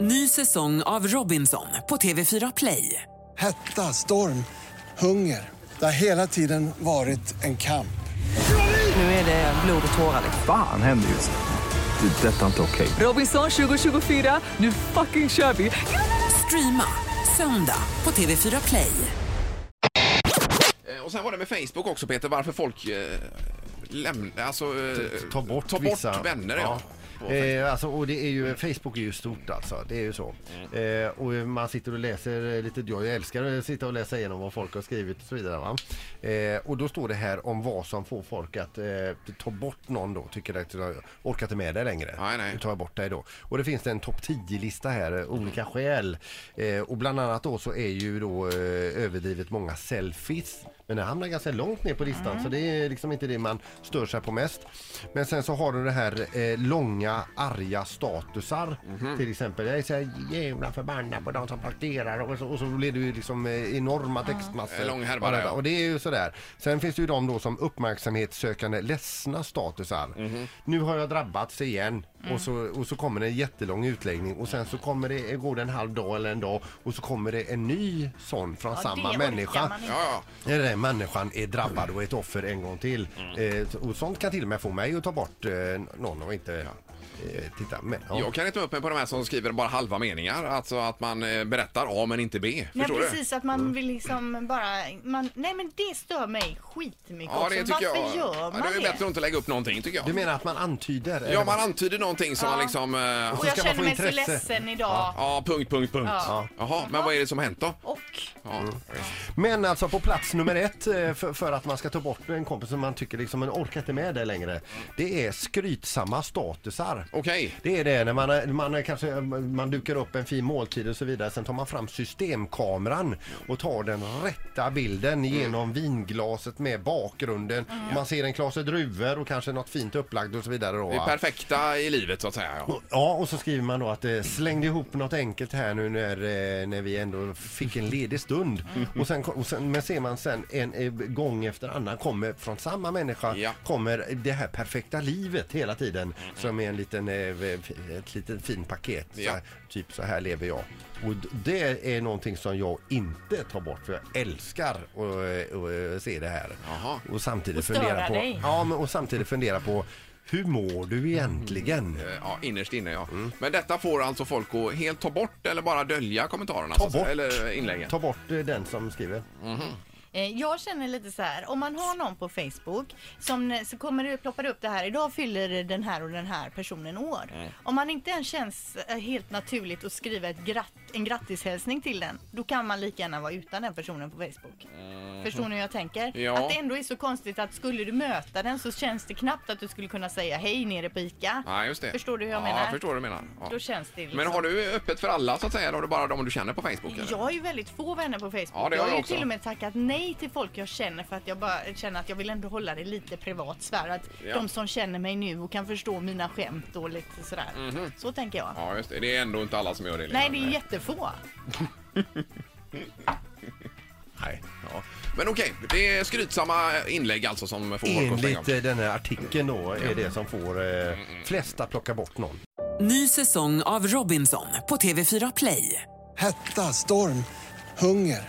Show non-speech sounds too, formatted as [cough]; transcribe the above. Ny säsong av Robinson på TV4 Play. Hetta, storm, hunger. Det har hela tiden varit en kamp. Nu är det blod och tårar. liksom. Fan händer just nu. Det. är Detta är inte okej. Robinson 2024, nu fucking kör vi! Streama söndag på TV4 Play. Eh, Och sen var det med Facebook också Peter, varför folk eh, lämnar, alltså eh, ta bort, ta bort vissa. vänner. Ja. På Facebook. Eh, alltså, och det är ju, Facebook är ju stort alltså, det är ju så. Mm. Eh, och man sitter och läser eh, lite, jag älskar att sitta och läsa igenom vad folk har skrivit och så vidare va. Eh, och då står det här om vad som får folk att eh, ta bort någon då, tycker att jag orkar inte med dig längre. Nej, nej. Nu tar jag bort dig då. Och det finns en topp 10-lista här, eh, olika skäl. Eh, och bland annat då så är ju då eh, överdrivet många selfies. Men det hamnar ganska långt ner på listan så det är liksom inte det man stör sig på mest. Men sen så har du det här eh, långa arga statusar. Till exempel, jag är så här jävla förbannad på de som parkerar och så, och så blir det ju liksom eh, enorma textmassor. En lång härva där, ja. Och det är ju sådär. Sen finns det ju de då som uppmärksamhetssökande ledsna statusar. Mhm. Nu har jag drabbats igen. Och, så, och så kommer det en jättelång utläggning och sen så kommer det, går det en halv dag eller en dag och så kommer det en ny sån från Ja, det samma orkar människa. man inte. Ja, ja. När den här människan är drabbad och är ett offer en gång till. Mm. Eh, och sånt kan till och med få mig att ta bort eh, någon och inte eh, titta. Men, ja. Jag kan inte ta upp mig på de här som skriver bara halva meningar, alltså att man eh, berättar A men inte B. Nej Förstår du? precis, att man vill liksom bara... Man, nej men det stör mig skitmycket Ja, också. det tycker Varför jag. gör man ja, det är det? bättre att inte lägga upp någonting tycker jag. Du menar att man antyder? eller Ja, vad? man antyder någonting som man liksom... eh, Och jag ska man känner få mig så intresse. ledsen idag. Ja, punkt, punkt, punkt. Ja. Jaha, men vad är det som hänt då? Och Ja. Mm. Men alltså på plats nummer ett eh, för, för att man ska ta bort en kompis som man tycker liksom man orkar inte med det längre. Det är skrytsamma statusar. Okej. Det är det när man, är- man, är kanske, man dukar upp en fin måltid och så vidare. Sen tar man fram systemkameran och tar den rätta bilden genom vinglaset med bakgrunden. Man ser en klase druvor och kanske något fint upplagt och så vidare. Då, Mm. Det va? är perfekta i livet så att säga. Ja. Och- Ja, och så skriver man då att eh, slängde ihop något enkelt här nu när, eh, när vi ändå fick en ledig stund. Mm. Och sen, ko- och sen, men ser man sen en eh, gång efter annan kommer från samma människa Ja. Mm. kommer det här perfekta livet hela tiden som är en liten, eh, f- ett litet fin paket. Ja. Så här, typ så här lever jag. Och d- det är någonting som jag inte tar bort för jag älskar att eh, att se det här. Jaha. Och samtidigt Och störa fundera på... dig. Ja, men, och samtidigt fundera på hur mår du egentligen? Eh, Ja, innerst inne ja. Mm. Men detta får alltså folk att helt ta bort eller bara dölja kommentarerna? så Ta att säga, bort, Alltså, Eller inläggen? ta bort eh, den som skriver. eh, jag känner lite så här, om man har någon på Facebook som eh, så kommer det ploppar det upp det här, idag fyller den här och den här personen år. Om man inte ens känns eh, helt naturligt att skriva ett gratt, en grattishälsning till den, då kan man lika gärna vara utan den personen på Facebook. Förstår ni hur jag tänker? Eh. [laughs] Ja. Att det ändå är så konstigt att skulle du möta den så känns det knappt att du skulle kunna säga hej nere på ICA. Ja, just det. Förstår du hur jag ja, menar? Jag förstår vad du menar. Ja. Då känns det liksom. Men har du öppet för alla så att säga? Eller har du bara de du känner på Facebook? Eller? Jag har ju väldigt få vänner på Facebook. Ja, det har jag har jag ju också. till och med tackat nej till folk jag känner för att jag bara känner att jag vill ändå hålla det lite privat sfär. Att Ja. de som känner mig nu och kan förstå mina skämt och lite sådär. Så tänker jag. Mhm. Ja, just det. Det är ändå inte alla som gör det. liksom. nej, Lena. det är jättefå. Nej. ja. Men okej, det är skrytsamma inlägg alltså som får folk att Enligt stänga. eh, den här artikeln då är det som får eh, flesta plocka bort någon. Ny säsong av Robinson på TV4 Play. Hetta, storm, hunger.